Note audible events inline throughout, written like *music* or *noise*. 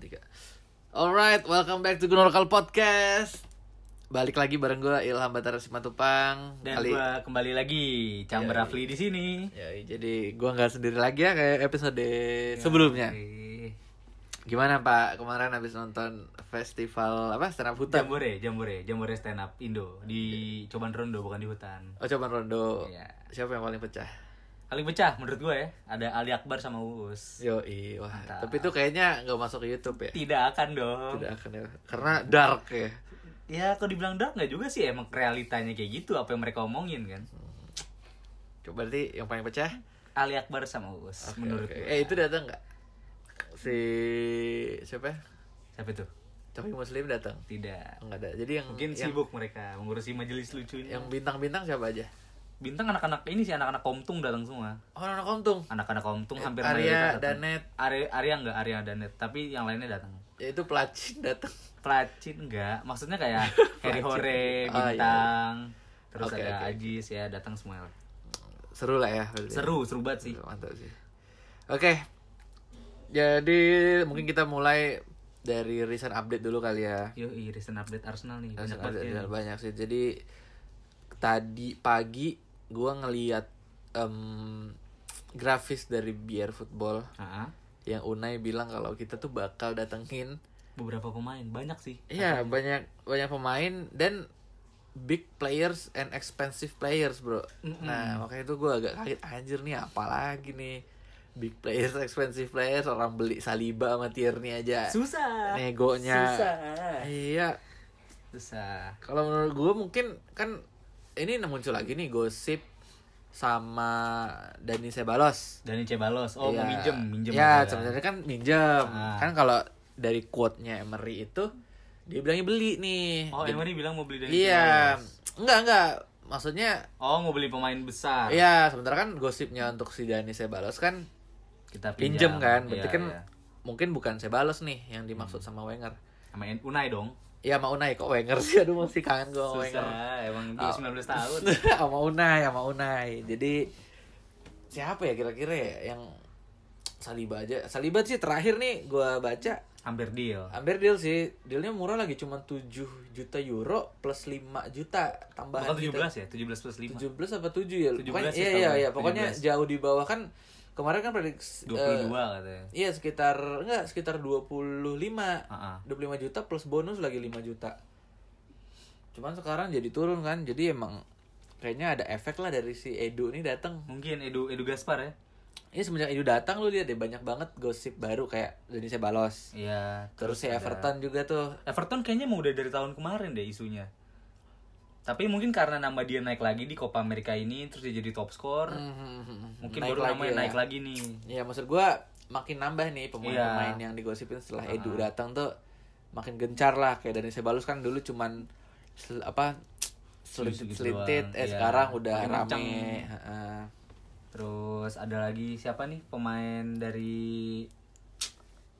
tiga. Alright, welcome back to Gunung Lokal Podcast. Balik lagi bareng gue Ilham Batara Simatupang. Dan gua kembali lagi Chamber Yoi. Rafli di sini. Yoi, Ya, jadi gue nggak sendiri lagi ya kayak episode Ya. sebelumnya. Yoi. Gimana Pak kemarin habis nonton festival apa stand up hutan? Jambore, Jambore, Jambore stand up Indo di Coban Rondo bukan di hutan. Oh coba rondo. Iya. Siapa yang paling pecah? Paling pecah menurut gue ya. Ada Ali Akbar Iya. sama Uus. Yoi, wah. Mantap. Iya. Tapi itu kayaknya nggak masuk ke YouTube ya. Tidak akan dong. Tidak akan ya. Karena dark ya. Ya kalau dibilang dark nggak juga sih emang realitanya kayak gitu apa yang mereka omongin kan. Coba berarti yang paling pecah? Ali Akbar sama Uus Oke, menurut oke. gue. Eh itu datang nggak? Si siapa? ya? Siapa itu? Coki Muslim datang? Tidak. Nggak ada. Jadi yang Mungkin yang, sibuk mereka mengurusi majelis lucunya. yang bintang-bintang siapa aja? Bintang anak-anak ini sih anak-anak komtung datang semua. Oh, anak Komtung. Anak-anak komtung hampir Eh, Arya, mayoritas datang. Danet. Arya, Arya enggak, Arya Danet, tapi yang lainnya datang. Ya itu pelacin datang. Pelacin enggak, maksudnya *laughs* kayak Harry Hore, Oh, iya. Bintang, terus Oke, ada oke, Iya. oke. Ajis ya datang semua. Seru lah ya. berarti. Seru, seru banget sih. Mantap sih. Oke. Jadi mungkin kita mulai dari recent update dulu kali ya. Yo, recent update Arsenal nih banyak Recent banget. update iya. ya. dan banyak sih. Jadi tadi pagi gua ngeliat em, grafis dari biar football Ah, ah. yang Unai bilang kalau kita tuh bakal datengin beberapa pemain banyak sih. Iya banyak banyak pemain dan big players and expensive players bro. Nah makanya itu gue agak kaget anjir nih apa lagi nih big players expensive players orang beli Saliba sama Tierney aja Susah. Eh, negonya. Susah. Iya Susah. kalau menurut gue mungkin kan ini muncul lagi nih gosip sama Dani Sebalos. Dani Cebalos, oh Iya. mau minjem, minjem. Ya, juga. sebenarnya kan minjem. Ah. Kan kalau dari quote-nya Emery itu dia bilangnya beli nih. Oh, Jadi- Emery bilang mau beli Dani Iya. Ceballos. Enggak, enggak. Maksudnya Oh, mau beli pemain besar. ya sementara kan gosipnya untuk si Dani Sebalos kan Kita pinjem pinjam, kan. Berarti Iya, kan iya. Hmm. mungkin bukan Sebalos nih yang dimaksud sama Wenger. sama En- Unai dong. Ya sama Unai kok Wenger sih aduh masih kangen gua sama Wenger. Susah, emang dia gitu, ya Oh. 19 *laughs* tahun. sama Unai, sama Unai. Jadi siapa ya kira-kira ya yang Saliba aja. Saliba sih terakhir nih gua baca Hampir deal. Hampir deal sih, dealnya murah lagi cuma 7 juta euro plus 5 juta tambahan Bukan 17 ya, 17 plus 5. 17 apa 7 ya? 17 pokoknya, sih iya iya tahu. iya, pokoknya 17. jauh di bawah kan kemarin kan prediksi eh, 22 katanya. iya sekitar enggak sekitar 25. Ah, ah. 25 juta plus bonus lagi 5 juta. Cuman sekarang jadi turun kan. Jadi emang kayaknya ada efek lah dari si Edu nih datang. Mungkin Edu Edu Gaspar ya. Ini semenjak Edu datang lu lihat deh banyak banget gosip baru kayak Indonesia Balos. Iya. Terus si ada- Everton juga tuh Everton kayaknya mau udah dari tahun kemarin deh isunya. Tapi mungkin karena nama dia naik lagi di Copa America ini terus dia jadi top scorer, Hmm, mungkin baru ya. namanya naik lagi nih. Iya, maksud gua makin nambah nih pemain-pemain Iya. yang digosipin setelah Edu datang tuh makin gencar lah kayak Dani Sebalus kan dulu cuman sel- apa selit, Selisih gitu selintit doang. eh Iya. sekarang udah Makin kencang. rame. Heeh. Terus ada lagi siapa nih pemain dari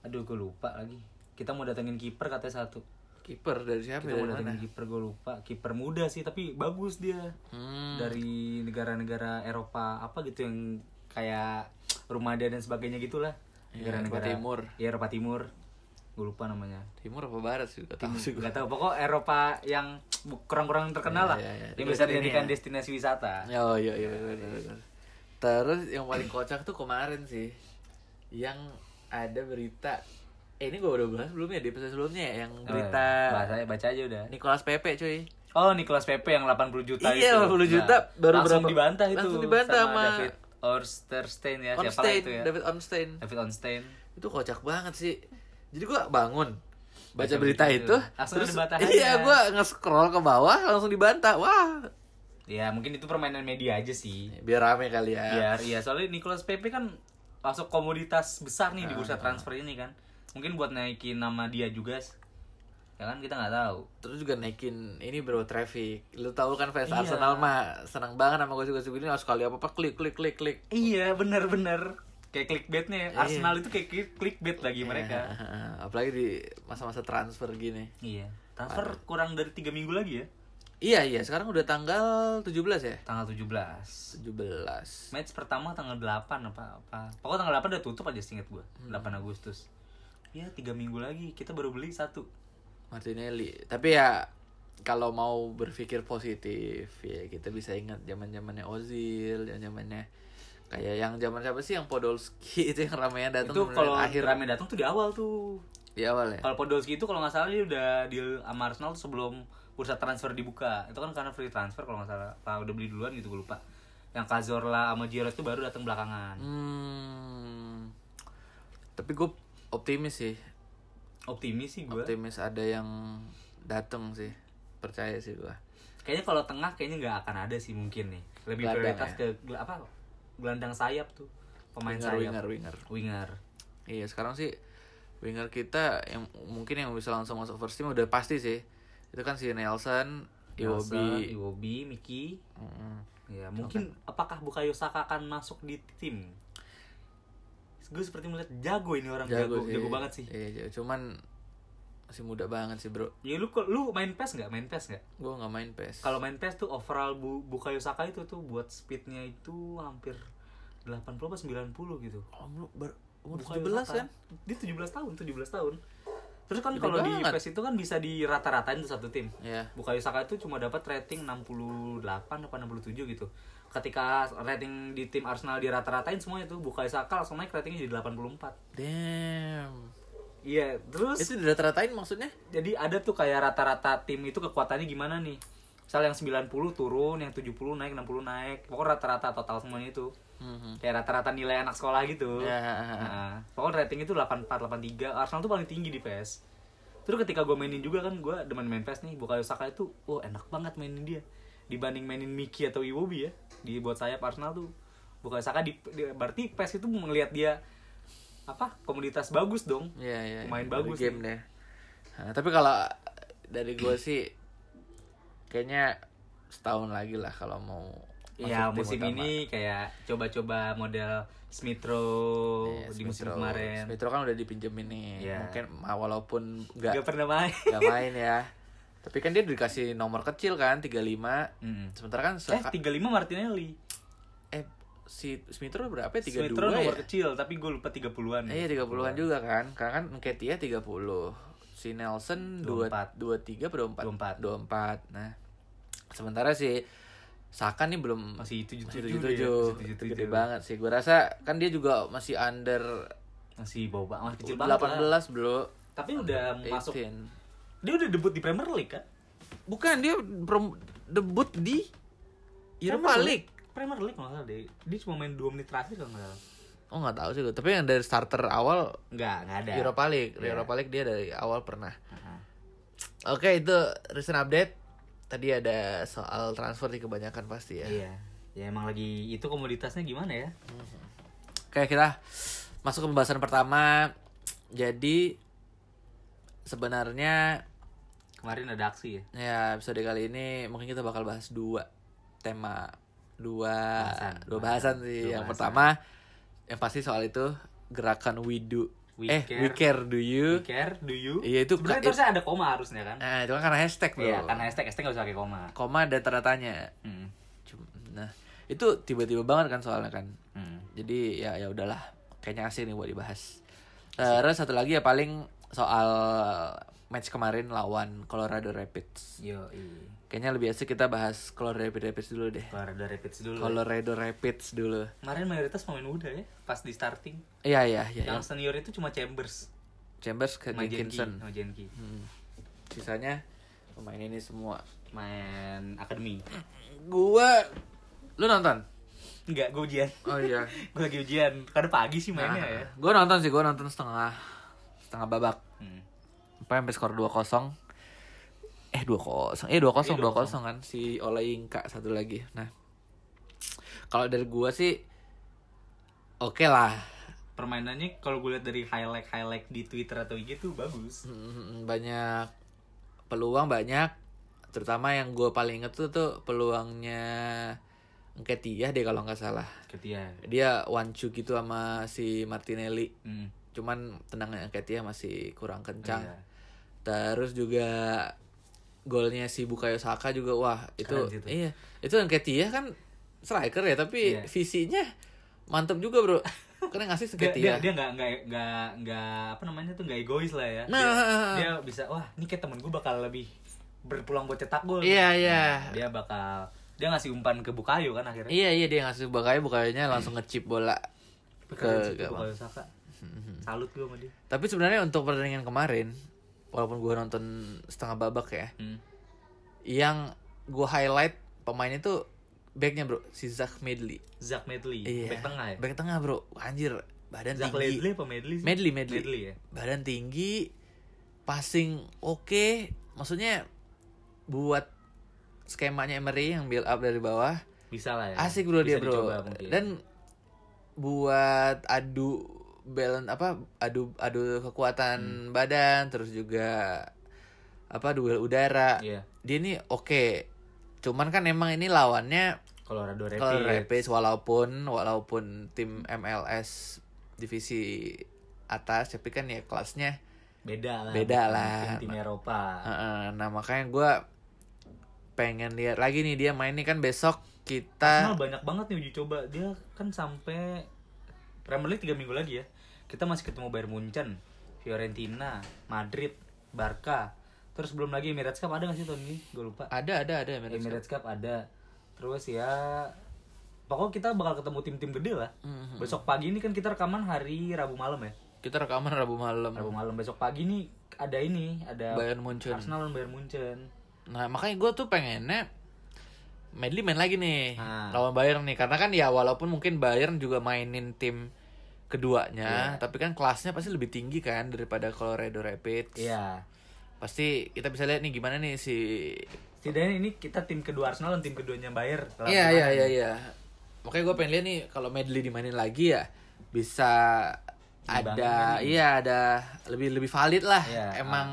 Aduh, gue lupa lagi. Kita mau datengin kiper katanya satu. Kiper dari siapa ya, Kita dari mau mana? datengin kiper gue lupa. Kiper muda sih tapi bagus dia. Hmm. dari negara-negara Eropa apa gitu yang kayak Rumada dan sebagainya gitulah Iya, Eropa negara-negara Timur. ya Eropa Timur gue lupa namanya Timur apa barat sih? Gak tahu sih gua. nggak tahu pokok Eropa yang bu- kurang-kurang terkenal Iya, lah iya, iya. yang Terus bisa ini dijadikan ya. destinasi wisata Oh iya iya benar, benar, benar. Terus yang paling kocak tuh kemarin sih yang ada berita eh ini gua udah bahas belum ya di episode sebelumnya ya yang berita Eh, baca, baca aja udah Nicolas Pepe cuy. oh Nicolas Pepe yang 80 juta itu Nah, Iya, 80 juta, baru langsung berapa- dibantah itu langsung dibantah sama, sama- David Orsterstein ya siapa lah Onstein, itu ya David Onstein. David Onstein Itu kocak banget sih. Jadi gua bangun baca Baca berita berita itu, itu. Langsung ada bantahannya. iya gua nge-scroll ke bawah langsung dibantah. Wah, ya mungkin itu permainan media aja sih biar rame kali ya. biar iya soalnya Nicolas Pepe kan masuk komoditas besar nih di bursa transfer ini kan mungkin buat naikin nama dia juga s- ya kan kita nggak tahu Terus juga naikin ini bro traffic. Lu tahu kan fans Iya. Arsenal mah senang banget sama gosip-gosip ini harus kali apa-apa klik klik klik klik. iya bener-bener kayak clickbaitnya ya. Arsenal itu kayak click- clickbait lagi mereka *laughs* Apalagi di masa-masa transfer gini. iya transfer kurang dari tiga minggu lagi ya Iya iya, sekarang udah tanggal 17 ya? tanggal 17 17. Hmm. match pertama tanggal 8 apa apa pokoknya tanggal 8 udah tutup aja singkat gua 8 Agustus ya tiga minggu lagi kita baru beli satu Martinelli tapi ya kalau mau berpikir positif ya kita bisa ingat zaman zamannya Ozil zaman zamannya kayak yang zaman siapa sih yang Podolski *laughs* itu yang ramenya datang itu kemudian kalau akhir rame datang tuh di awal tuh di awal ya kalau Podolski itu kalau nggak salah dia udah deal sama Arsenal tuh sebelum bursa transfer dibuka itu kan karena free transfer kalau nggak salah Apa udah beli duluan gitu gue lupa yang Cazorla sama Giroud itu baru datang belakangan hmm. tapi gue optimis sih optimis sih gue optimis ada yang datang sih percaya sih gue kayaknya kalau tengah kayaknya nggak akan ada sih mungkin nih lebih Gelandang prioritas ya? ke gel- apa gelandang sayap tuh pemain winger sayap winger winger winger iya sekarang sih winger kita yang mungkin yang bisa langsung masuk first team udah pasti sih itu kan si Nelson Nelson, Iwobi Iwobi Miki Mm-mm. ya mungkin apakah Bukayo Saka akan masuk di tim gue seperti melihat jago ini orang jago jago, sih. banget sih Iya, jago. cuman masih muda banget sih bro. ya lu lu main pes nggak main pes nggak Gue nggak main PES. kalau main pes tuh overall bu, Bukayo Saka itu tuh buat speednya itu hampir 80 apa 90 gitu Om lu ber- umur Bukayo 17 Saka. kan? Dia 17 tahun, 17 tahun. Terus kan Gede kalau di banget. PES itu kan bisa dirata-ratain tuh satu tim. Iya. Bukayo Saka itu cuma dapat rating 68 apa 67 gitu. Ketika rating di tim Arsenal dirata-ratain semua itu Bukayo Saka langsung naik ratingnya jadi 84. Damn. Iya, terus Itu udah teratain maksudnya? jadi ada tuh kayak rata-rata tim itu kekuatannya gimana nih. Misal yang 90 turun, yang 70 naik, 60 naik. Pokoknya rata-rata total semuanya itu. Mhm. Kayak rata-rata nilai anak sekolah gitu. Ya, ha, ha, ha. Nah, pokoknya rating itu 84, 83. Arsenal tuh paling tinggi di PS. Terus ketika gue mainin juga kan, gue demen main PS nih. Bukayo Saka itu, wah enak banget mainin dia. Dibanding mainin Miki atau Iwobi ya. Di buat sayap Arsenal tuh. Bukayo Saka, di, di- berarti PS itu melihat dia, apa, komoditas bagus dong. Iya, iya. Pemain iya. bagus Dari game deh. Nah, tapi kalau dari gue sih kayaknya setahun lagi lah kalau mau masuk Iya tim musim utama. ini kayak coba-coba model Smith Rowe Iya, di musim Smith Rowe. kemarin. Smith Rowe kan udah dipinjemin nih. Iya. Mungkin ma- walaupun nggak Gak pernah main. nggak main ya. Tapi kan dia udah dikasih nomor kecil kan 35. Mm. Sementara kan Eh, Saka- 35 Martinelli. eh, si Smith Rowe berapa ya? 32 Smith Rowe nomor ya? kecil, tapi gue lupa 30-an. Eh, Iya 30-an juga kan. Karena kan Nketiah 30. Si Nelson 24. 24. 23 atau 24. 24. 24. Nah. Sementara si Saka nih belum Masih 77 masih dia, 77. masih Itu 77. gede banget sih. Gue rasa kan dia juga masih under Masih bau banget, masih kecil banget. lah. 18, Bro. Tapi udah masuk. 18. Dia udah debut di Premier League kan? Bukan dia prom- debut di Europa League. Premier League malah deh. Dia cuma main 2 menit terakhir kalau nggak salah. Oh nggak tahu sih gue. Tapi yang dari starter awal Enggak, enggak ada. Europa League, Ya. Europa League dia dari awal pernah. Heeh. Oke itu recent update. Tadi ada soal transfer di kebanyakan pasti ya. Iya. Ya emang lagi itu komoditasnya gimana ya? Oke kita masuk ke pembahasan pertama. Jadi sebenarnya Kemarin ada aksi ya. ya episode kali ini mungkin kita bakal bahas dua tema dua Bahasan. dua bahasan sih. Dua yang bahasan. pertama yang pasti soal itu gerakan We Do. We eh Care. We Care Do You. We care, do you? Iya, itu- Sebenarnya itu harusnya ada koma harusnya kan? Nah itu kan karena hashtag bro. Iya, karena hashtag hashtag gak usah pakai koma. Koma ada tanda tanya. Hmm. Cum- Nah, itu tiba-tiba banget kan soalnya kan. Hmm. Jadi ya ya udahlah, kayaknya asik nih buat dibahas. Terus satu lagi ya paling soal match kemarin lawan Colorado Rapids. Yo, Kayaknya lebih asik kita bahas Colorado Rapids, Rapids dulu deh. Keluar dari Rapids dulu. Colorado Rapids dulu. Kemarin mayoritas pemain muda ya, pas di starting. Iya iya iya. iya. Yang senior itu cuma Chambers, Chambers ke sama Jenki, Dickinson. sama Jenki. Hmm. Sisanya pemain ini semua. Main akademi. Gua lu nonton? Enggak, gue ujian. Oh iya. gue lagi ujian. Karena pagi sih mainnya ya. Nah, Gua nonton sih, gua nonton setengah setengah babak. Hmm. Apa sampai skor 2-0. Eh 2-0. Eh 2-0, 2-0 kan si Ola Ingka satu lagi. Nah. Kalau dari gua sih oke lah. Permainannya kalau gue lihat dari highlight highlight di Twitter atau IG tuh bagus. Mm, Banyak peluang banyak terutama yang gua paling inget tuh tuh peluangnya Nketiah deh kalau nggak salah. Ketia. Dia one two gitu sama si Martinelli. Hmm. Cuman tendangan Nketiah masih kurang kencang. Iya. Terus juga golnya si Bukayo Saka juga wah itu Keren sih itu. iya itu Nketiah kan striker ya tapi Iya. visinya mantep juga bro Karena *laughs* ngasih dia segitiga. dia dia nggak nggak nggak nggak apa namanya tuh nggak egois lah ya Nah. dia, dia bisa wah ini kayak temen gue bakal lebih berpulang buat cetak gol Iya, iya. Nah, dia bakal dia ngasih umpan ke Bukayo kan akhirnya Iya iya dia ngasih bukanya bukanya langsung ngecip bola ke ke gawang. Bukayo Saka Hmm. salut gue sama dia Tapi sebenarnya untuk pertandingan kemarin, walaupun gue nonton setengah babak ya, yang gue highlight pemain itu backnya bro, si Zach Medley. Zach Medley back tengah ya Iya, Back tengah bro, anjir badan Zach tinggi, Medley apa Medley sih Medley, Medley. ya badan tinggi, passing oke, maksudnya buat skemanya Emery yang build up dari bawah bisa lah ya asik bro dia Bisa bro dicoba mungkin. dan buat adu balance apa adu adu Hmm. kekuatan badan terus juga apa duel udara iya dia ini oke cuman kan emang ini lawannya Colorado Rapids kalau Rapids walaupun walaupun tim MLS divisi atas tapi kan ya kelasnya beda lah Beda bukan lah. tim, tim Eropa Heeh, nah makanya gue pengen lihat lagi nih dia main nih kan besok kita Arsenal banyak banget nih uji coba dia kan sampai Premier League 3 minggu lagi ya kita masih ketemu Bayern Munchen Fiorentina Madrid Barca terus belum lagi Emirates Cup ada gak sih tahun ini gue lupa ada ada ada Emirates. Emirates Cup ada terus ya pokoknya kita bakal ketemu tim-tim gede lah Hmm. besok pagi ini kan kita rekaman hari Rabu malam ya Mhm. kita rekaman Rabu malam Rabu malam besok pagi nih ada ini ada Bayern Munchen. Arsenal lawan Bayern Munchen Nah makanya gue tuh pengennya Medley main lagi nih Ah. lawan Bayern nih karena kan ya walaupun mungkin Bayern juga mainin tim keduanya Iya. tapi kan kelasnya pasti lebih tinggi kan daripada Colorado Rapids. Iya. Pasti kita bisa lihat nih gimana nih si Setidaknya ini kita tim kedua Arsenal dan tim keduanya Bayern. Lawan Iya iya kemarin. iya iya. Makanya gue pengen lihat nih kalau Medley dimainin lagi ya bisa ada iya ada lebih lebih valid lah kan Iya, emang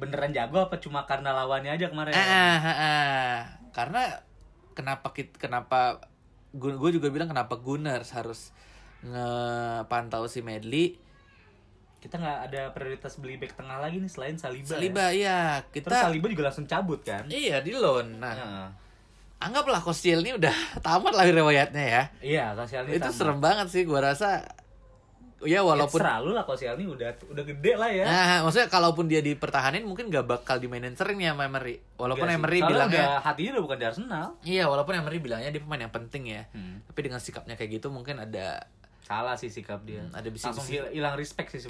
Beneran jago apa cuma karena lawannya aja kemarin? Ah, ah, ah, ah. karena kenapa kita kenapa gue juga bilang kenapa Gunners harus ngepantau si Medley Kita nggak ada prioritas beli back tengah lagi nih selain Saliba. ya. Saliba iya Terus kita Saliba juga langsung cabut kan? iya di loan nah Heeh. anggaplah Kostiel ini udah *laughs* tamat lah riwayatnya ya Iya, Koscielny itu tamat. serem banget sih gue rasa ya walaupun Serah lu lah Koscielny udah udah gede lah Iya, ya. nah maksudnya kalaupun dia dipertahanin mungkin gak bakal dimainin sering ya sama Emery walaupun Nggak Iya sih. Emery Soalnya bilangnya udah hatinya udah bukan di Arsenal. iya walaupun Emery bilangnya dia pemain yang penting ya Hmm. tapi dengan sikapnya kayak gitu mungkin ada Salah sih sikap dia. Hmm, ada langsung bisik-bisik. hil- hilang respect sih Iya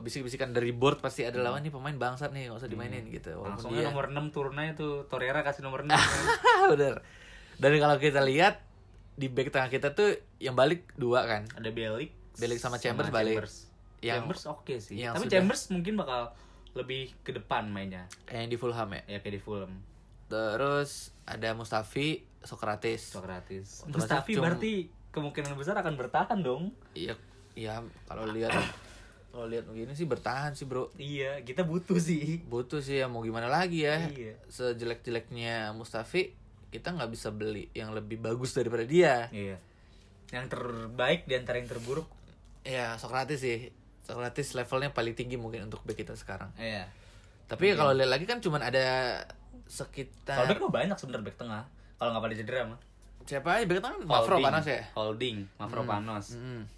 bro, bisik-bisikan dari board pasti ada lawan nih pemain bangsat nih, gak usah Hmm. dimainin gitu. Walaupun Langsungnya dia Ah. nomor 6 turunnya tuh Torreira kasih nomor 6. *laughs* bener. Dan kalau kita lihat di back tengah kita tuh yang balik dua kan. *laughs* ada Belik Belik sama Chambers balik. Yang- Chambers oke sih yang tapi sudah- Chambers mungkin bakal lebih ke depan mainnya Kayak yang di Fulham ya. ya kayak di Fulham Terus ada Mustafi, Socrates. Socrates Terus Mustafi Cum- berarti kemungkinan besar akan bertahan dong Iya, iya kalau lihat kalau lihat begini sih bertahan sih, Bro. iya kita butuh sih Butuh sih ya mau gimana lagi ya. Iya. Sejelek-jeleknya Mustafi, kita nggak bisa beli yang lebih bagus daripada dia. iya yang terbaik di antara yang terburuk Ya, Socrates sih. Socrates levelnya paling tinggi mungkin untuk back kita sekarang. iya Tapi kalau lihat lagi kan cuman ada sekitar kalau back mah banyak sebenarnya back tengah kalau nggak pada cedera mah siapa aja back tangan Mavro Holding- panas ya. Hmm. holding Mavropanos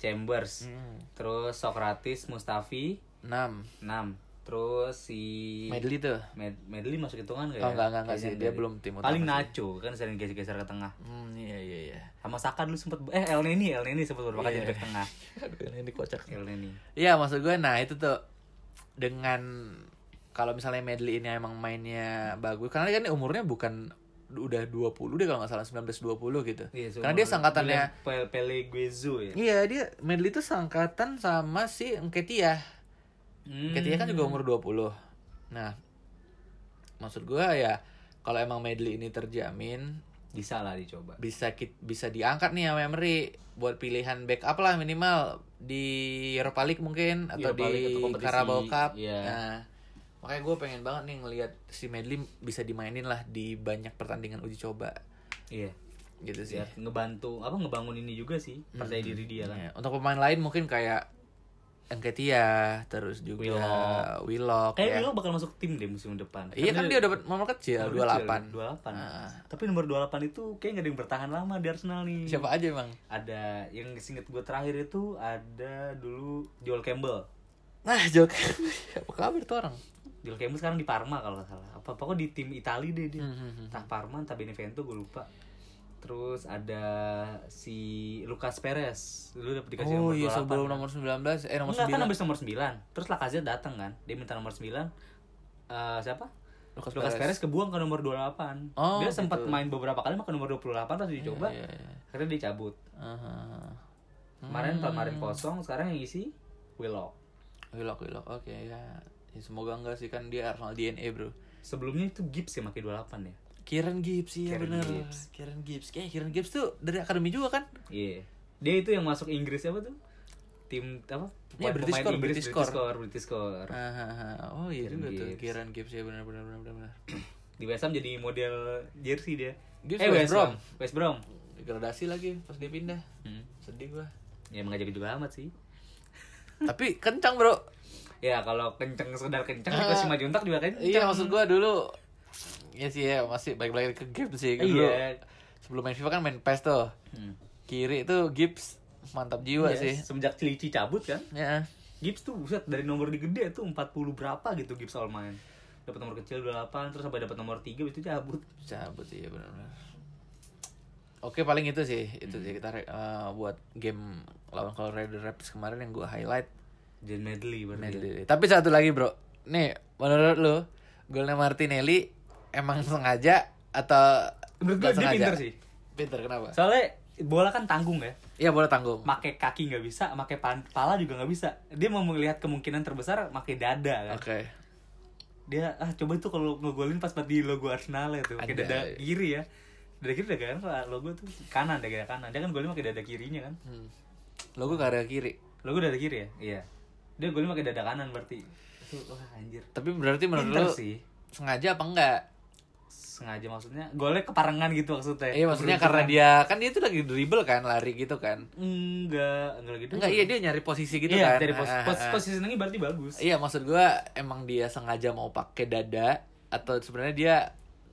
Chambers terus Socrates Mustafi 6. 6 terus si Medley tuh. Med Medley masuk hitungan gak Oh, enggak, ya? enggak, enggak Kayaknya sih. Dia belum tim utama Paling sih. Nacho kan sering geser-geser ke tengah. Hmm, iya iya iya. *laughs* Sama Saka dulu sempet eh El Neni, El Neni sempet beberapa kali jadi back tengah. Aduh, ini kocak. El Neni. Iya, maksud gue nah itu tuh dengan kalau misalnya Medley ini emang mainnya bagus karena dia kan umurnya bukan udah 20 deh kalau nggak salah 19 20 gitu. karena dia sangkatannya Iya, Pele Pele Guezo ya. Iya, dia Medley itu sangkatan sama si Nketiah. Hmm. Ketika kan juga umur 20. Nah, maksud gua ya kalau emang Medley ini terjamin Bisa lah dicoba. bisa kit- bisa diangkat nih sama Emery buat pilihan backup lah minimal di Europa League mungkin atau Europa League di atau kompetisi, Carabao Cup. iya. Nah, makanya gue pengen banget nih ngelihat si Medley bisa dimainin lah di banyak pertandingan uji coba Iya. gitu sih. Hmm. Iya. Biar ngebantu apa ngebangun ini juga sih percaya diri dia kan. Ya, Untuk pemain lain mungkin kayak Enketia terus juga Willock. Willock, Kayaknya ya. Willock bakal masuk tim deh musim depan. Iya kan dia dapat nomor kecil Nomor kecil, 28. 28. Nah. Tapi nomor 28 itu kayak gak ada yang bertahan lama di Arsenal nih. Siapa aja emang? Ada yang singkat gue terakhir itu ada dulu Joel Campbell. Nah, *laughs* Joker. Apa kabar tuh orang? Joel Campbell sekarang di Parma kalau nggak salah. Apa pokoknya di tim Italia deh dia. Mhm. Entah Parma, entah Benevento gue lupa. Terus ada si Lucas Perez. Lu dapet dikasih Oh nomor iya 28. sebelum nomor 19 eh nomor ya. Enggak kan 9 habis nomor 9 Terus Lacazette datang kan Dia minta nomor 9 Eh Siapa? Lucas Lucas Perez. Perez kebuang ke nomor 28 Oh, Dia sempat gitu. main beberapa kali sama ke nomor 28 Terus dicoba Iya, iya. Akhirnya dia cabut Aha. Kemarin Hmm. kemarin kosong Sekarang yang isi Willock Willock Willock oke ya. Ya, semoga enggak sih kan dia Arsenal DNA bro. Sebelumnya itu Gibbs yang pakai 28 ya Kieran Gibbs iya Kieran bener Gibbs. Kieran Gibbs kayak Kieran Gibbs tuh dari akademi juga kan? Iya Dia itu yang masuk Inggris apa tuh? Tim apa? Iya, British Core, British British Core. Core British Core Aha, oh iya Kieran juga tuh Gibbs. Kieran Gibbs ya benar benar benar benar benar. Di West Ham jadi model jersey dia Gibbs Eh West West Brom West Brom Degradasi lagi pas dia pindah. Hmm. Sedih *laughs* gua. Ya emang gak jadi juga amat sih Tapi kencang bro. Ya kalau kenceng sekedar kenceng di kelas maju untak juga kenceng. Eh, Iya maksud gua dulu Ya sih ya masih balik-balik ke Gibbs sih dulu. Iya. Sebelum main FIFA kan main PES tuh Hmm. Kiri itu Gibbs mantap jiwa Iya, sih Semenjak Cilici cabut kan, Ya Gibbs tuh buset dari nomor di gede tuh 40 berapa gitu Gibbs all main. Dapat nomor kecil 28 terus sampai dapat nomor 3 itu cabut. cabut sih ya benar-benar Oke paling itu sih itu Hmm. sih kita re- eh, buat game lawan Colorado Rapids kemarin yang gua highlight Dan medley berarti. Martinelli. Tapi satu lagi bro, nih menurut lu golnya Martinelli emang sengaja atau Menurut gue nggak dia pinter sih. Pinter kenapa? Soalnya bola kan tanggung ya. Iya boleh tanggung. Make kaki nggak bisa, make pan- pala juga nggak bisa. Dia mau melihat kemungkinan terbesar make dada kan. Oke. Dia ah coba tuh kalau ngegolin pas banget di logo Arsenal ya tuh, Ada. pakai iya. dada kiri ya. Dada kiri dada kanan, logo tuh kanan dada kanan. Dia kan golin pakai dada kirinya kan. Hmm. Lo gue karya kiri. Lo gue dada kiri ya? Iya. Dia golnya pakai dada kanan berarti. Itu wah anjir. Tapi berarti menurut lu Pinter sih. sengaja apa enggak? Sengaja maksudnya golnya keparengan gitu maksudnya. Iya maksudnya karena dia kan dia tuh lagi dribble kan lari gitu kan. enggak, enggak gitu. Enggak iya dia nyari posisi gitu iya, kan. dari pos Ah, ah, pos ah. posisi senengnya berarti bagus. Iya maksud gua emang dia sengaja mau pakai dada atau sebenarnya dia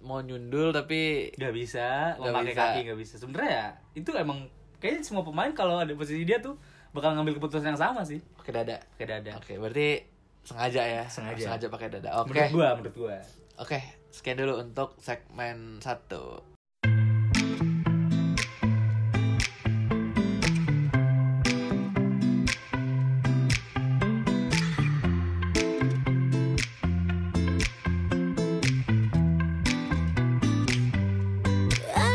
mau nyundul tapi Gak bisa, Nggak memakai bisa. kaki gak bisa. Sebenernya ya, itu emang kayaknya semua pemain kalau ada posisi dia tuh bakal ngambil keputusan yang sama sih. pakai dada. Ya, Pakai dada. Oke, berarti sengaja ya. Sengaja. Sengaja pakai dada. Oke. Menurut gua, menurut gua. Oke, sekian dulu untuk segmen satu. I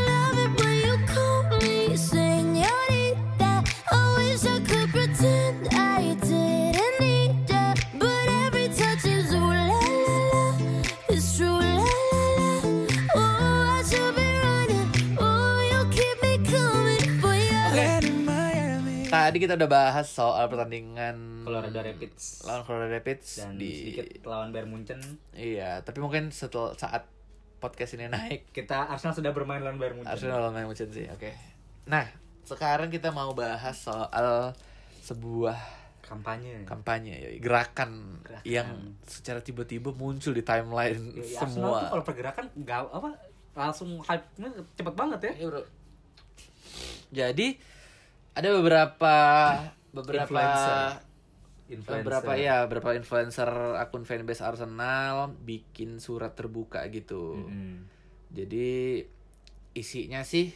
love it when you call me señorita. I wish I could pretend I didn't need ya, but every touch is ooh la la la, it's true la la la. Oh, I should be running. Oh, you keep me coming for your Oke. Tadi kita udah bahas soal pertandingan Colorado Rapids Hmm. lawan Colorado Rapids dan di sedikit lawan Bayern Munchen. Iya, tapi mungkin setelah saat podcast ini naik Kita Arsenal sudah bermain lawan Bayern Munchen. Arsenal lawan Bayern Munchen sih. Oke. Nah, sekarang kita mau bahas soal sebuah Kampanye. kampanye ya, gerakan, Iya, Gerakan. yang secara tiba-tiba muncul di timeline Ya, ya, Arsenal tuh semua. kalau pergerakan nggak apa langsung hype-nya cepet banget ya. Iya, Bro. Jadi ada beberapa beberapa Influencer. Influencer. beberapa ya beberapa influencer akun fanbase Arsenal bikin surat terbuka gitu. Mm. Jadi isinya sih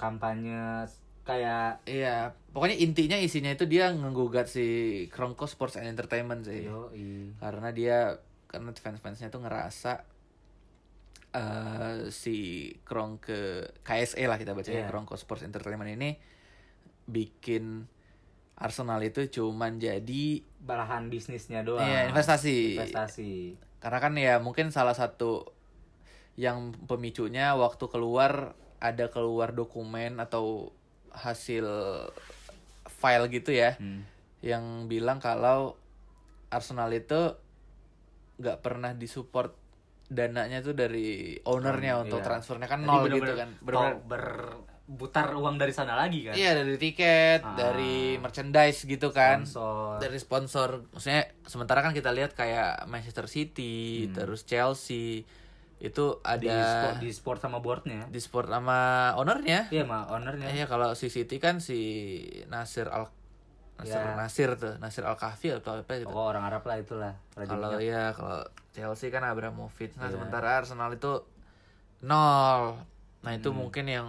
Kampanye kayak Iya, pokoknya intinya isinya itu dia ngegugat si Kronko Sports and Entertainment sih. yoi. Karena dia karena fans-fansnya tuh ngerasa eh si Kronke KSE E lah kita baca Iya. Kronko Sports Entertainment ini bikin Arsenal itu cuman jadi barahan bisnisnya doang. Iya, investasi. Investasi. Karena kan ya mungkin salah satu yang pemicunya waktu keluar ada keluar dokumen atau hasil file gitu ya Hmm. yang bilang kalau Arsenal itu nggak pernah disupport dananya tuh dari ownernya Hmm, untuk iya. transfernya kan Jadi nol gitu bener-bener kan Bener bener ber putar uang dari sana lagi kan Iya dari tiket, Ah. dari merchandise gitu kan. Sponsor. Dari sponsor. Maksudnya sementara kan kita lihat kayak Manchester City, terus Chelsea itu Hmm. di sport, ada di sport sama boardnya di sport sama ownernya. iya sama ownernya Iya kalau si City kan si Nasir Al Nasir, Iya. Nasir tuh, Nasir Al Kafi atau apa gitu. oh orang Arab lah itulah Raja kalau minyak. ya kalau Chelsea kan Abramovich. Nah, Iya. sementara Arsenal itu nol. Nah, itu mungkin yang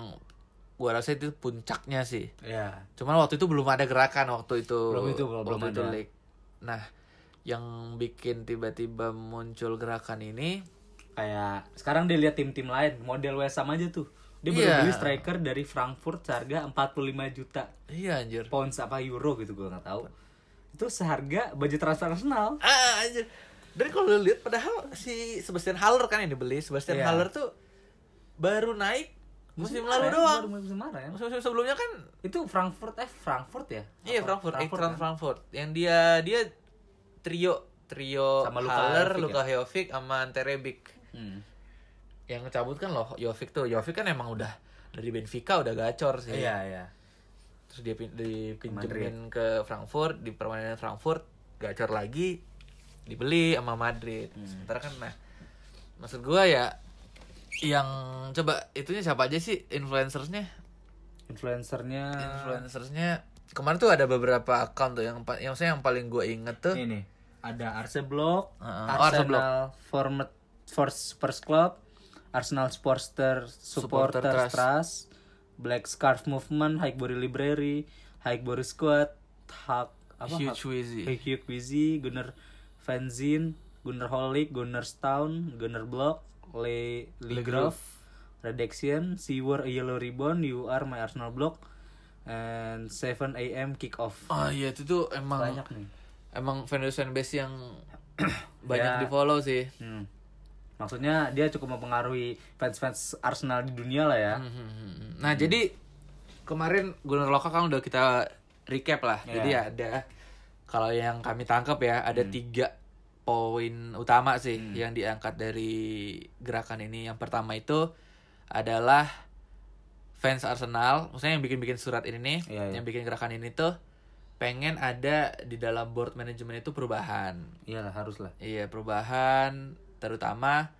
gua rasa itu puncaknya sih. Iya. Cuman waktu itu belum ada gerakan waktu itu. Belum itu, belum- waktu belum itu ada. leak. Nah, yang bikin tiba-tiba muncul gerakan ini kayak sekarang dia lihat tim-tim lain model West sama aja tuh dia baru Iya. beli striker dari Frankfurt seharga 45 juta iya anjir. pounds apa euro gitu gue nggak tahu itu seharga budget transfer Arsenal Ah, anjir. Dan kalau lu lihat padahal si Sebastian Haller kan yang dibeli, Sebastian Iya. Haller tuh baru naik musim lalu kemarin, doang. baru musim kemarin. Musim-musim sebelumnya kan itu Frankfurt eh Frankfurt ya Iya Apa? Frankfurt, Frankfurt, kan? Frankfurt. Yang dia dia trio trio Sama Luka Haller, Jovic Luka Jovic sama Ante Rebic. Hmm. Yang cabut kan loh Jovic tuh. Jovic kan emang udah dari Benfica udah gacor sih. iya iya Terus dia pin- dipinjemin ke Frankfurt, di permainan Frankfurt gacor lagi dibeli sama Madrid. Sementara kan nah maksud gua ya yang coba itunya siapa aja sih influencersnya? influencernya Eh. Iya. Influencersnya kemarin tuh ada beberapa account tuh yang pa- yang saya yang paling gue inget tuh ini nih ada Arse Block, Heeh. Arsenal Oh, Arse Block. Former- Force Spurs Club, Arsenal Sportster Supporter Supporter, Trust. Trust. Black Scarf Movement, Highbury Library, Highbury Squad, Hak apa Huge Wheezy. Huge Wheezy, Gunner Fanzine, Gunner Holic, Gunner Town, Gunner Block, Le Legrove, Redaction, Sewer A Yellow Ribbon, You Are My Arsenal Block, and 7 AM Kick Off. Ah iya itu tuh emang Banyak nih. emang fanbase fanbase *coughs* yang banyak Ya. di follow sih. Hmm. Maksudnya dia cukup mempengaruhi fans-fans Arsenal di dunia lah ya. Nah jadi kemarin Gunnar Loka kan udah kita recap lah. Ya. Jadi ada kalau yang kami tangkap ya ada Hmm. tiga poin utama sih yang diangkat dari gerakan ini. Yang pertama itu adalah fans Arsenal, maksudnya yang bikin-bikin surat ini nih, Iya, iya. yang bikin gerakan ini tuh pengen ada di dalam board manajemen itu perubahan. Iyalah harus lah. Iya, perubahan terutama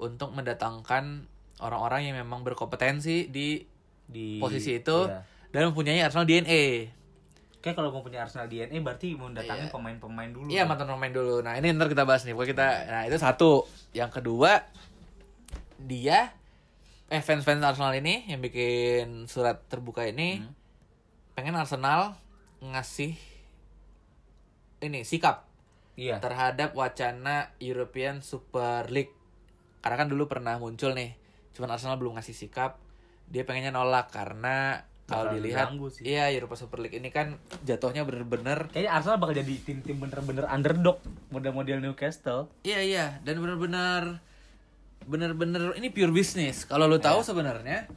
untuk mendatangkan orang-orang yang memang berkompetensi di Di posisi itu iya. dan mempunyai Arsenal DNA. Kayak kalau mau punya Arsenal DNA berarti mau datangin Iya. pemain-pemain dulu. Iya, kan? mantan pemain dulu. Nah, ini ntar kita bahas nih. Pokoknya kita Iya. nah itu satu. Yang kedua dia eh fans-fans Arsenal ini yang bikin surat terbuka ini Hmm. pengen Arsenal ngasih ini sikap Iya. terhadap wacana European Super League. Karena kan dulu pernah muncul nih, cuman Arsenal belum ngasih sikap. Dia pengennya nolak karena kalau Bakal dilihat, ganggu sih. iya Europa Super League ini kan jatuhnya bener-bener, Kayaknya Arsenal bakal jadi tim-tim bener-bener underdog model-model Newcastle. iya iya, dan bener-bener, bener-bener ini pure business. Kalau lu Iya. tahu sebenarnya,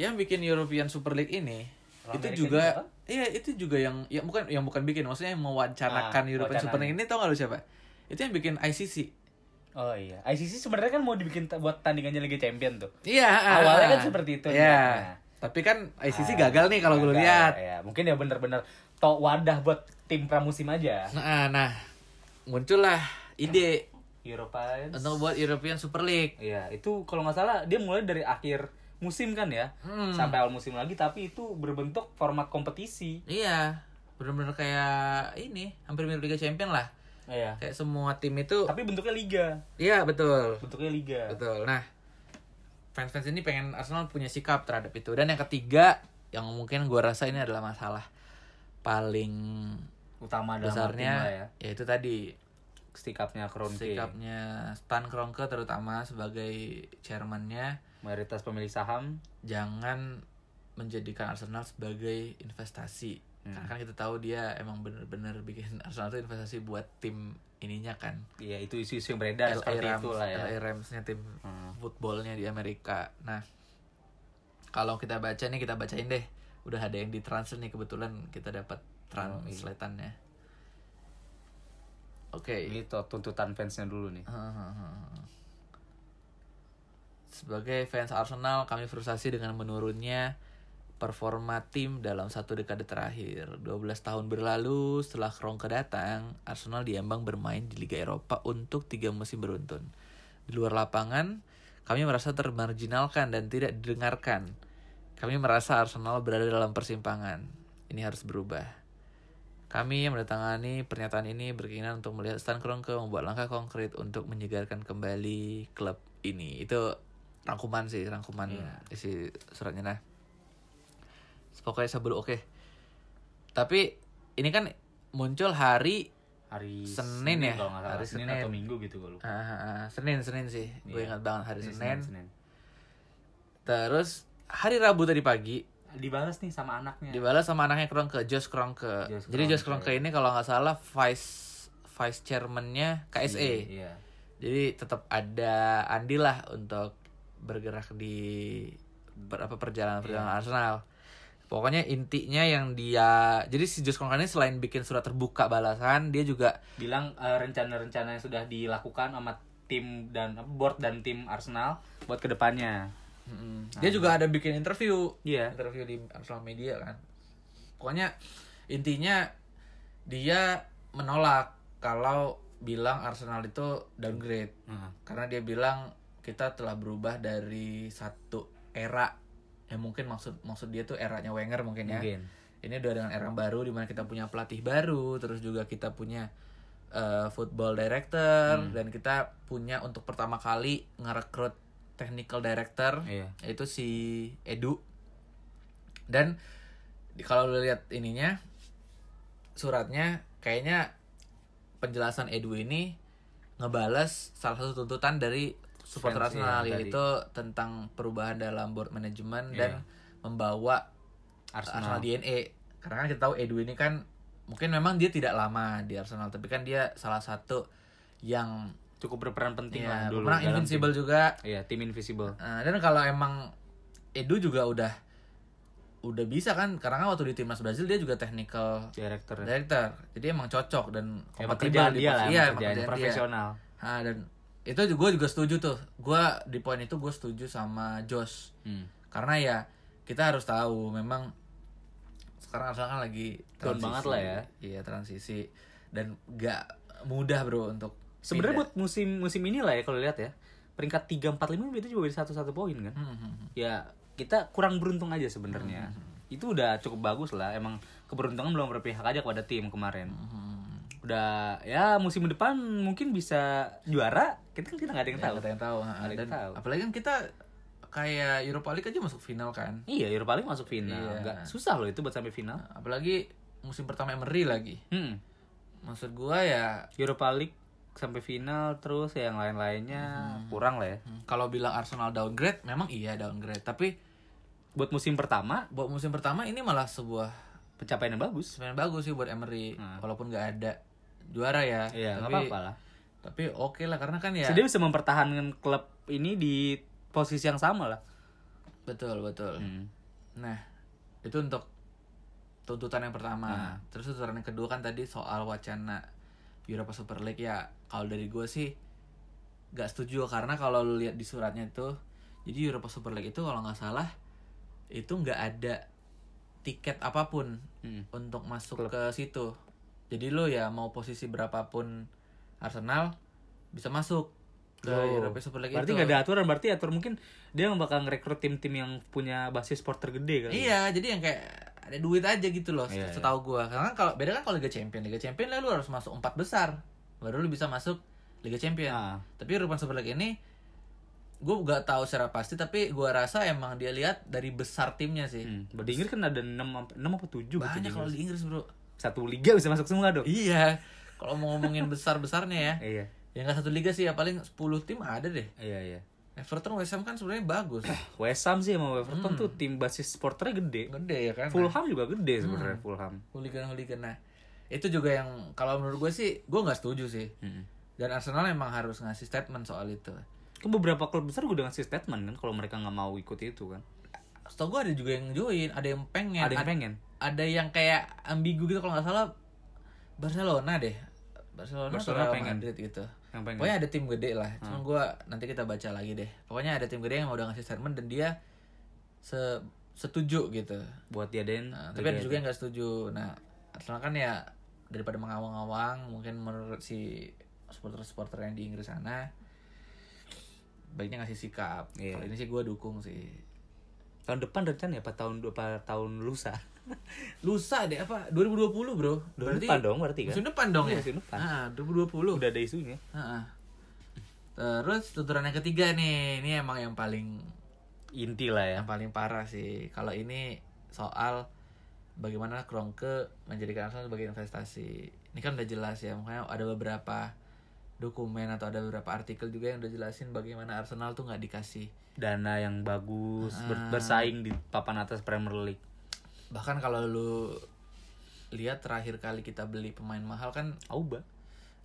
yang bikin European Super League ini Orang itu Amerika juga, juga. iya itu juga yang, ya bukan yang bukan bikin, maksudnya yang mewacanakan Ah, European Super wacananya. League ini tau gak lu siapa? Itu yang bikin ICC. Oh iya. ICC sebenarnya kan mau dibikin ta- buat tandingannya Liga Champion tuh. Iya. Awalnya ah, kan ah. seperti itu, Iya. nah. Tapi kan ICC Ah, gagal nih kalau gue gagal, lihat. Iya, mungkin ya bener-bener to wadah buat tim pramusim aja. Nah, nah, muncullah ide European. untuk buat European Super League. Iya, itu kalau nggak salah dia mulai dari akhir musim kan ya, Hmm. sampai awal musim lagi. Tapi itu berbentuk format kompetisi. Iya. Bener-bener kayak ini, hampir mirip Liga Champion lah. Iya. Kayak semua tim itu. Tapi bentuknya liga, Iya, betul. bentuknya liga. Betul. Nah, fans-fans ini pengen Arsenal punya sikap terhadap itu. Dan yang ketiga, yang mungkin gue rasa ini adalah masalah paling Utama dalam besarnya, arti lah ya. yaitu tadi Sikapnya Kronke, sikapnya Stan Kroenke terutama sebagai chairmannya mayoritas pemilik saham. jangan menjadikan Arsenal sebagai investasi Hmm. karena kan kita tahu dia emang bener-bener bikin *laughs* Arsenal itu investasi buat tim ininya kan Iya, itu isu-isu yang beredar LA seperti Rams, itulah ya. Hmm. LA Rams-nya tim footballnya di Amerika nah kalau kita baca nih kita bacain deh udah ada yang ditransfer nih kebetulan kita dapat Oh, iya. translatannya oke Ini tuh Gitu, tuntutan fansnya dulu nih. Sebagai fans Arsenal, kami frustasi dengan menurunnya performa tim dalam satu dekade terakhir. 12 tahun berlalu setelah Kroenke datang, Arsenal diambang bermain di Liga Eropa untuk tiga musim beruntun. Di luar lapangan, kami merasa termarginalkan dan tidak didengarkan. Kami merasa Arsenal berada dalam persimpangan. Ini harus berubah. Kami yang mendatangani pernyataan ini berkeinginan untuk melihat Stan Kroenke membuat langkah konkret untuk menyegarkan kembali klub ini. Itu rangkuman sih, rangkuman Iya. isi suratnya nah. Pokoknya sebelum oke. Tapi ini kan muncul hari hari Senin ya? kalau nggak salah. Hari Senin, Senin. atau Minggu gitu gue lupa. ah, ah, ah, Senin Senin sih. Gue Iya. ingat banget hari Ini Senin. Senin. Terus hari Rabu tadi pagi Dibalas nih sama anaknya. dibalas sama anaknya Kroenke, Josh Kroenke. Josh Jadi Josh Kroenke. Kroenke ini kalau nggak salah vice vice chairmannya E. KSE. Iya. Jadi tetap ada andil lah untuk bergerak di per- apa perjalanan perjalanan Arsenal. Pokoknya intinya yang dia jadi si Josh Kroenke ini selain bikin surat terbuka balasan, dia juga Bilang eh, rencana-rencana yang sudah dilakukan sama tim dan apa, board dan tim Arsenal buat kedepannya. dia juga ada bikin interview Iya. interview di Arsenal Media kan. Pokoknya intinya dia menolak kalau bilang Arsenal itu downgrade Heeh. karena dia bilang kita telah berubah dari satu era ya mungkin maksud maksud dia tuh eranya Wenger mungkin ya. Mungkin. Ini udah dengan era baru dimana kita punya pelatih baru, terus juga kita punya eh, football director dan kita punya untuk pertama kali ngerekrut technical director Iya. yaitu si Edu dan di- kalau lu lihat ininya suratnya kayaknya penjelasan Edu ini ngebales salah satu tuntutan dari supporter Fans, Arsenal iya, yaitu tentang perubahan dalam board manajemen dan Iya. membawa Arsenal Arsenal. DNA karena kan kita tahu Edu ini kan mungkin memang dia tidak lama di Arsenal tapi kan dia salah satu yang cukup berperan penting lah ya, dulu. pemenang dalam invincible tim. juga Iya, tim invincible. Nah, dan kalau emang Edu juga udah udah bisa kan karena kan waktu di timnas Brazil dia juga technical Director. director jadi emang cocok dan Ya, kompatibel pekerjaan di dia lah, posisi- iya, emang pekerjaan kerjaan dia. profesional. Ah, dan itu gue juga setuju tuh gue di poin itu gue setuju sama Josh Hmm. karena ya kita harus tahu memang sekarang Arsenal kan lagi Down transisi. banget lah ya. iya transisi dan gak mudah bro untuk Sebenarnya pindah. buat musim musim inilah ya kalau lihat ya. Peringkat 3 4 5 itu cuma satu satu poin kan. Hmm, hmm, hmm. Ya, kita kurang beruntung aja sebenarnya. Itu udah cukup bagus lah. Emang keberuntungan belum berpihak aja kepada tim kemarin. Hmm. Udah ya musim depan mungkin bisa juara. Kita kan kita nggak ada yang Ya, tahu. kita yang tahu ha, Ada yang dan tahu. apalagi kan kita kayak Europa League aja masuk final kan Iya, Europa League masuk final. Iya. Nggak susah loh itu buat sampai final. apalagi musim pertama Emery lagi Hmm. maksud gua ya Europa League sampai final terus yang lain-lainnya kurang lah ya. hmm, kalau bilang Arsenal downgrade memang iya downgrade tapi Buat musim pertama buat musim pertama ini malah sebuah pencapaian yang bagus. sebenarnya bagus sih buat Emery Hmm. walaupun nggak ada juara ya Iya, nggak tapi apa-apa lah. tapi oke lah karena kan ya So, dia bisa mempertahankan klub ini di posisi yang sama lah. Hmm. betul betul nah itu untuk tuntutan yang Nah. pertama terus tuntutan yang kedua kan tadi soal wacana Europa Super League ya kalau dari gue sih nggak setuju karena kalau lu lihat di suratnya itu jadi Europa Super League itu kalau nggak salah itu nggak ada tiket apapun Hmm. untuk masuk ke situ jadi lu ya mau posisi berapapun Arsenal bisa masuk ke Oh. Europa Super League Berarti itu nggak ada aturan, berarti atur mungkin dia nggak bakal ngerekrut tim-tim yang punya basis supporter gede kali. Iya, jadi yang kayak ada duit aja gitu loh, Iya, setahu gua. Karena kalau beda kan kalau Liga Champion, Liga Champion lah lu harus masuk empat besar baru lu bisa masuk Liga Champion. Ah. Tapi Rupan Super League ini gua nggak tahu secara pasti tapi gua rasa emang dia lihat dari besar timnya sih. Hmm. Iya. Berarti Inggris kan ada 6 6 apa gitu 7 Banyak kalau di Inggris, Bro. Satu liga bisa masuk semua dong. Iya. Kalau mau ngomongin besar-besarnya *laughs* ya. Iya. Ya nggak satu liga sih ya paling 10 tim ada deh. Iya, iya. Everton West Ham kan sebenarnya bagus. West Ham sih sama Hmm. Everton tuh tim basis supporternya gede. Gede ya kan. Fulham juga gede sebenarnya Fulham. hooligan-hooligan. Nah, itu juga yang kalau menurut gue sih, gue nggak setuju sih. Hmm. Dan Arsenal emang harus ngasih statement soal itu. Kan beberapa klub besar udah ngasih statement kan kalau mereka nggak mau ikut itu kan. Setahu gue ada juga yang join, Iya, ada yang pengen, Ada yang ad- pengen. ada yang kayak ambigu gitu kalau nggak salah Barcelona deh. Barcelona, atau Barcelona Real pengen. Madrid gitu. Yang pengen. Hmm. Pokoknya ada tim gede lah. Cuman gue nanti kita baca lagi deh. Pokoknya ada tim gede yang udah ngasih statement dan dia se setuju gitu. buat diadain Nah, tapi ada liga juga yang nggak setuju. Nah, Arsenal kan ya daripada mengawang-awang, mungkin menurut si supporter-supporter yang di Inggris sana baiknya ngasih sikap. Iya. Kalau ini sih gue dukung sih. tahun depan rencana ya apa tahun apa tahun lusa Lusa deh apa? 2020 bro. tahun depan dong berarti kan Musim depan dong Iya, ya. musim depan. Ah, 2020. udah ada isunya Heeh. Terus tuturan yang ketiga nih, ini emang yang paling inti lah ya yang paling parah sih. Kalau ini soal bagaimana Kroenke menjadikan Arsenal sebagai investasi. Ini kan udah jelas ya, makanya ada beberapa dokumen atau ada beberapa artikel juga yang udah jelasin bagaimana Arsenal tuh nggak dikasih. dana yang bagus Ah. ber- bersaing di papan atas Premier League Bahkan kalau lu lihat terakhir kali kita beli pemain mahal kan Auba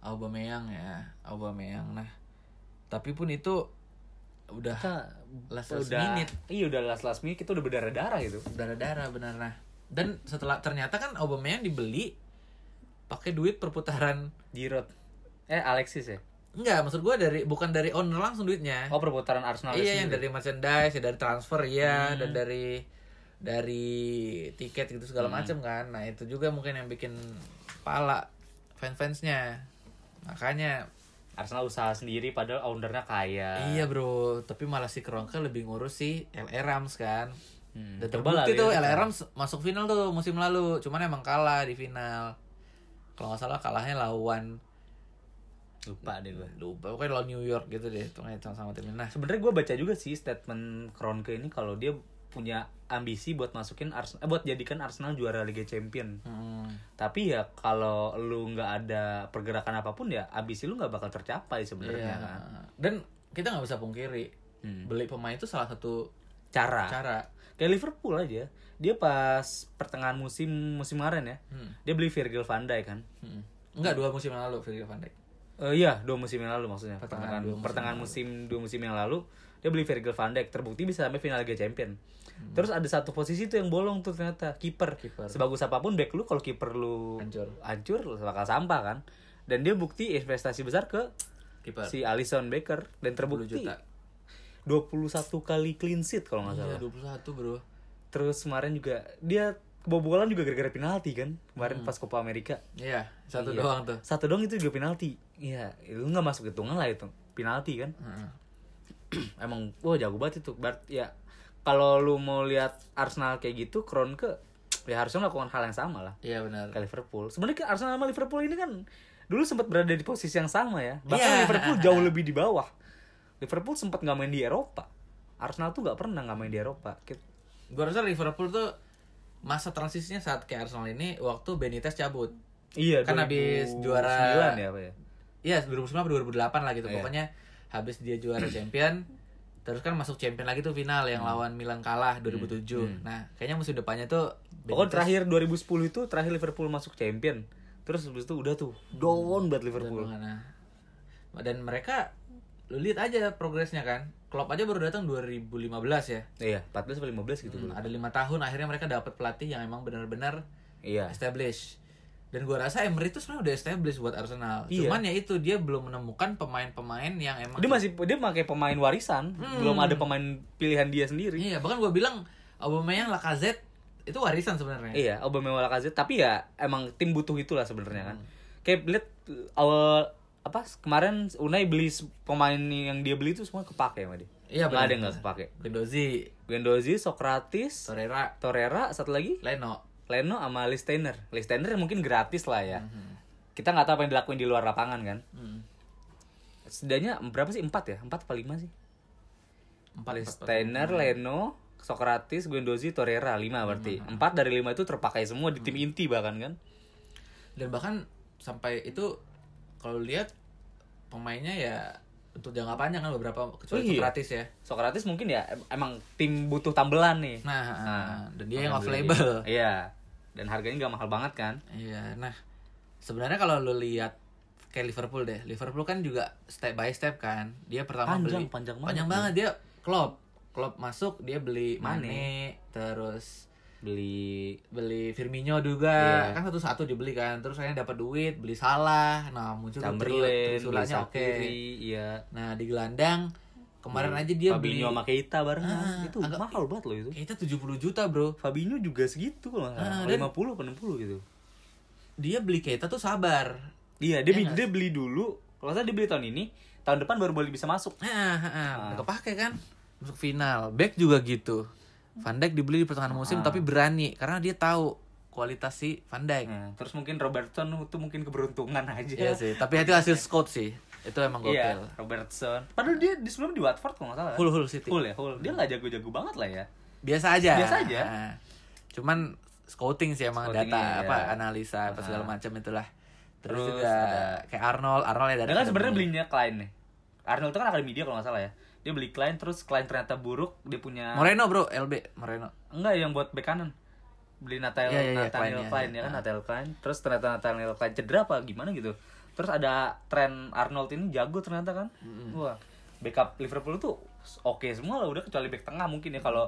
Aubameyang ya, Aubameyang. Nah, tapi pun itu udah kita last last udah minute iya udah last last minute kita udah berdarah darah gitu darah-darah benar nah. Dan setelah ternyata kan Aubameyang dibeli pakai duit perputaran Giroud eh Alexis ya Enggak, maksud gue dari bukan dari owner langsung duitnya. oh perputaran Arsenal iya, yang sendiri. dari merchandise, ya, dari transfer ya, dan dari dari tiket gitu segala macem kan. Nah itu juga mungkin yang bikin pala fans-fansnya. Makanya Arsenal usaha sendiri padahal ownernya kaya iya bro, tapi malah si Kroenke lebih ngurus si LR Rams kan. Hmm, Dan coba lah terbukti tuh lihat. LR Rams masuk final tuh musim lalu, cuman emang kalah di final. Kalau nggak salah kalahnya lawan lupa deh gue lupa pokoknya lawan New York gitu deh, tuh sama-sama timnya. Nah, sebenarnya gue baca juga sih statement Kroenke ini kalau dia punya ambisi buat masukin Arsenal eh, buat jadikan Arsenal juara Liga Champion hmm. tapi ya kalau lu nggak ada pergerakan apapun ya ambisi lu nggak bakal tercapai sebenarnya Iya. kan. Dan kita nggak bisa pungkiri Hmm. beli pemain itu salah satu cara cara. kayak Liverpool aja dia pas pertengahan musim musim kemarin ya Hmm. dia beli Virgil van Dijk kan Hmm. Enggak dua musim yang lalu Virgil van Dijk. Eh, iya dua musim yang lalu maksudnya Pertengahan pertengahan dua musim pertengahan musim dua musim yang lalu dia beli Virgil van Dijk terbukti bisa sampai final Liga Champion terus ada satu posisi tuh yang bolong tuh ternyata kiper Hmm. Kiper. sebagus apapun back lu kalau kiper lu Hancur. hancur bakal sampah kan dan dia bukti investasi besar ke Kiper. si Alisson Becker dan 10 terbukti juta. 21 kali clean sheet kalau nggak salah Iya 21 bro. Terus kemarin juga dia kebobolan juga gara-gara penalti kan Hmm. kemarin pas Copa Amerika. Iya satu Iya. doang tuh. Satu doang itu juga penalti. Iya, itu nggak masuk hitungan lah itu. Penalti kan. *clears throat* Heeh. Emang wah jago banget itu. Bart ya kalau lu mau lihat Arsenal kayak gitu, Kroenke ya harusnya melakukan hal yang sama lah Iya benar. ke Liverpool. Sebenarnya kan Arsenal sama Liverpool ini kan dulu sempat berada di posisi yang sama ya. Bahkan Iya. Liverpool jauh lebih di bawah. Liverpool sempat nggak main di Eropa. Arsenal tuh nggak pernah nggak main di Eropa. Kit- Gue rasa Liverpool tuh masa transisinya saat ke Arsenal ini waktu Benitez cabut. Iya, Kan habis 2009 juara- ya, apa ya? Iya 2009 atau 2008 lah gitu. Iya. Pokoknya habis dia juara champion terus kan masuk champion lagi tuh final yang Hmm. lawan Milan kalah 2007. Nah, kayaknya musim depannya tuh Pokoknya terakhir 2010 itu terakhir Liverpool masuk champion. Terus habis itu udah tuh down buat Liverpool. Dan mana. Nah, Dan mereka lu lihat aja progresnya kan. Klopp aja baru datang 2015 ya. Iya, 14 atau 15 gitu. Hmm, ada lima tahun akhirnya mereka dapat pelatih yang emang benar-benar Iya. established. Dan gua rasa Emery itu sebenarnya udah established buat Arsenal. Iya. Cuman ya itu dia belum menemukan pemain-pemain yang emang Dia masih dia pakai pemain warisan, belum ada pemain pilihan dia sendiri. Hmm. Iya, bahkan gua bilang Aubameyang, Lacazette itu warisan sebenarnya. Iya, Aubameyang Lacazette, tapi ya emang tim butuh itulah sebenarnya kan. Hmm. Kayak lihat uh, awal apa kemarin Unai beli se- pemain yang dia beli itu semua kepake sama dia. Iya, Nggak ada benar. yang nggak kepake. Gendozi, Guendouzi, Socrates, Torreira, Torreira, satu lagi Leno. Leno sama Listener. Listener mungkin gratis lah ya. Mhm. Kita nggak tahu apa yang dilakuin di luar lapangan kan. Hmm. Setidaknya berapa sih? Empat ya? Empat apa lima sih? Empat, empat, empat. Listener, Leno, Socrates, Guendouzi, Torreira. Lima berarti. Mhm. Empat dari lima itu terpakai semua di tim inti bahkan kan. dan bahkan sampai itu kalau lihat pemainnya ya untuk jangka panjang kan beberapa kecuali Oh, iya. Socrates ya Socrates mungkin ya em- emang tim butuh tambelan nih. nah, dan dia yang off Ambil label dia. Iya. Dan harganya nggak mahal banget kan. iya nah sebenarnya kalau lu lihat kayak Liverpool deh Liverpool kan juga step by step kan dia pertama Panjang, beli panjang banget panjang dia. banget dia Klopp Klopp masuk dia beli Mane. Mane, terus Beli beli Firmino juga Iya. kan satu-satu dibeli kan terus akhirnya dapat duit beli salah nah muncul tuh trio- Chamberlain, beli trisulanya oke Sakiri, iya. Nah di gelandang Kemarin aja dia beli Fabinho sama Keita barengan. Ah, itu agak- mahal banget loh itu. kita 70 juta, Bro. Fabinho juga segitu kalau nggak salah. Ah, dan- 50 apa 60 gitu. Dia beli kita tuh sabar. Iya Iya, dia, beli- nggak dia beli dulu. Kalau nggak salah dia beli tahun ini, tahun depan baru boleh bisa masuk. Nah, kepake kan masuk final. Back juga gitu. Van Dijk dibeli di pertengahan musim tapi berani karena dia tahu kualitas si Van Dijk. Nah, terus mungkin Robertson itu mungkin keberuntungan aja. Iya sih, tapi itu hasil scout sih. Itu emang Iya, gokil. Robertson. Padahal dia di sebelum di Watford kalau nggak salah. Hull, Hull City. Hull ya, Hull. Dia nggak jago-jago banget lah ya. Biasa aja. Biasa aja. Nah, cuman scouting sih emang Scoutingnya, data ya. apa analisa apa segala macam itulah. Terus, Ah. Terus juga kayak Arnold, Arnold ya dari Dia kan sebenarnya belinya Klein nih. Arnold itu kan akademi dia kalau nggak salah ya. Dia beli Klein terus Klein ternyata buruk, dia punya Moreno, Bro, LB Moreno. enggak yang buat bek kanan. Beli Nathaniel, Iya, iya, iya, Nathaniel Klein, iya, Klein, iya. ya kan Nathaniel Klein. Terus ternyata Nathaniel Klein cedera apa gimana gitu. Terus ada tren Arnold ini jago ternyata kan. Wah, backup Liverpool tuh oke semua lah udah kecuali back tengah mungkin ya kalau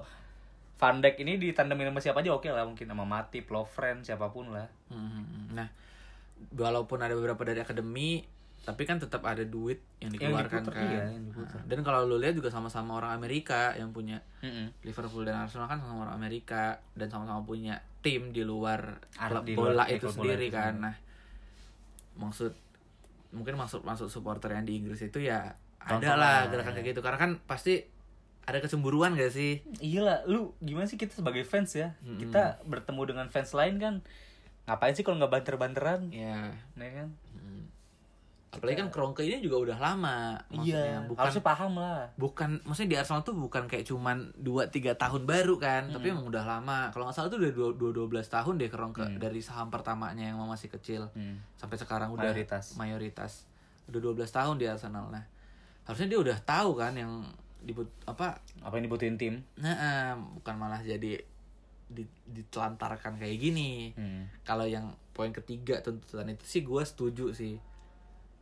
Van Dijk ini ditandemin sama siapa aja oke lah mungkin sama Matip, Lovren, siapapun lah. Hmm, Nah, walaupun ada beberapa dari akademi, tapi kan tetap ada duit yang Yang dikeluarkan diputer, kan. iya, yang diputer. Nah, Dan kalau lu lihat juga sama-sama orang Amerika yang punya Mm-mm. Liverpool dan Arsenal kan sama orang Amerika dan sama-sama punya tim di luar Ar- klub di bola luar- di itu klub bola sendiri itu kan. sendiri. Nah, maksud mungkin maksud maksud supporter yang di Inggris itu ya ada Tontonan, lah gerakan iya. kayak gitu karena kan pasti ada kecemburuan gak sih? Iya lah, lu gimana sih kita sebagai fans ya? Kita bertemu dengan fans lain kan, ngapain sih kalau nggak banter-banteran? Ya. Ya kan? mm. Apalagi kan Kroenke ini juga udah lama maksudnya Iya, bukan harusnya paham lah. bukan maksudnya di Arsenal tuh bukan kayak cuman 2 3 tahun baru kan, Hmm. tapi emang udah lama. Kalau nggak salah tuh udah 2 12 tahun deh Kroenke dari saham pertamanya yang masih kecil Hmm. sampai sekarang udah Mayoritas. mayoritas. Udah 12 tahun di Arsenal. Nah, harusnya dia udah tahu kan yang dibut apa Apa yang dibutuhin tim? nah eh, bukan malah jadi di- ditelantarkan kayak gini. Hmm. Kalau yang poin ketiga tuntutan itu sih gua setuju sih.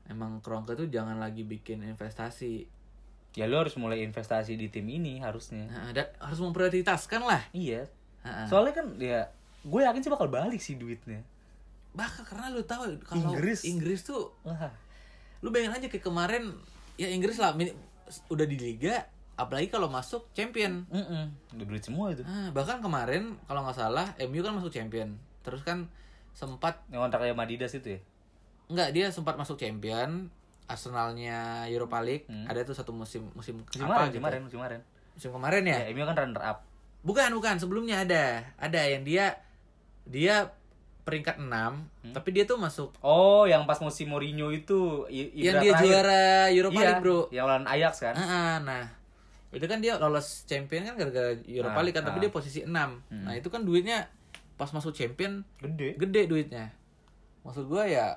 Emang Kroenke tuh jangan lagi bikin investasi. Ya lu harus mulai investasi di tim ini harusnya. Nah, ada harus memprioritaskan lah. Nah, Iya. Heeh. Soalnya kan ya, gue yakin sih bakal balik sih duitnya. Bakal karena lu tahu kalau Inggris. Inggris. tuh Wah. lu bayangin aja kayak kemarin ya Inggris lah min- udah di liga apalagi kalau masuk champion. Mm-mm. Udah duit semua itu. Ah, bahkan kemarin kalau nggak salah MU kan masuk champion. Terus kan sempat Yang kontraknya sama Adidas itu ya? nggak dia sempat masuk champion Arsenalnya Europa League ada tuh satu musim musim, Hmm. Musim apa kemarin, gitu. musim kemarin, musim kemarin. Musim kemarin ya? Ya, MU kan runner up. Bukan, bukan. Sebelumnya ada. Ada yang dia dia peringkat 6, Hmm. tapi dia tuh masuk Oh, yang pas musim Mourinho itu I- yang dia Ibra Iya, terakhir. juara Europa iya, League, Bro. Yang lawan Ajax kan? Ah, ah, nah. Itu kan dia lolos champion kan gara-gara Europa Ah, League kan, tapi ah. dia posisi 6. Nah, itu kan duitnya pas masuk champion Gede. gede duitnya. Maksud gua ya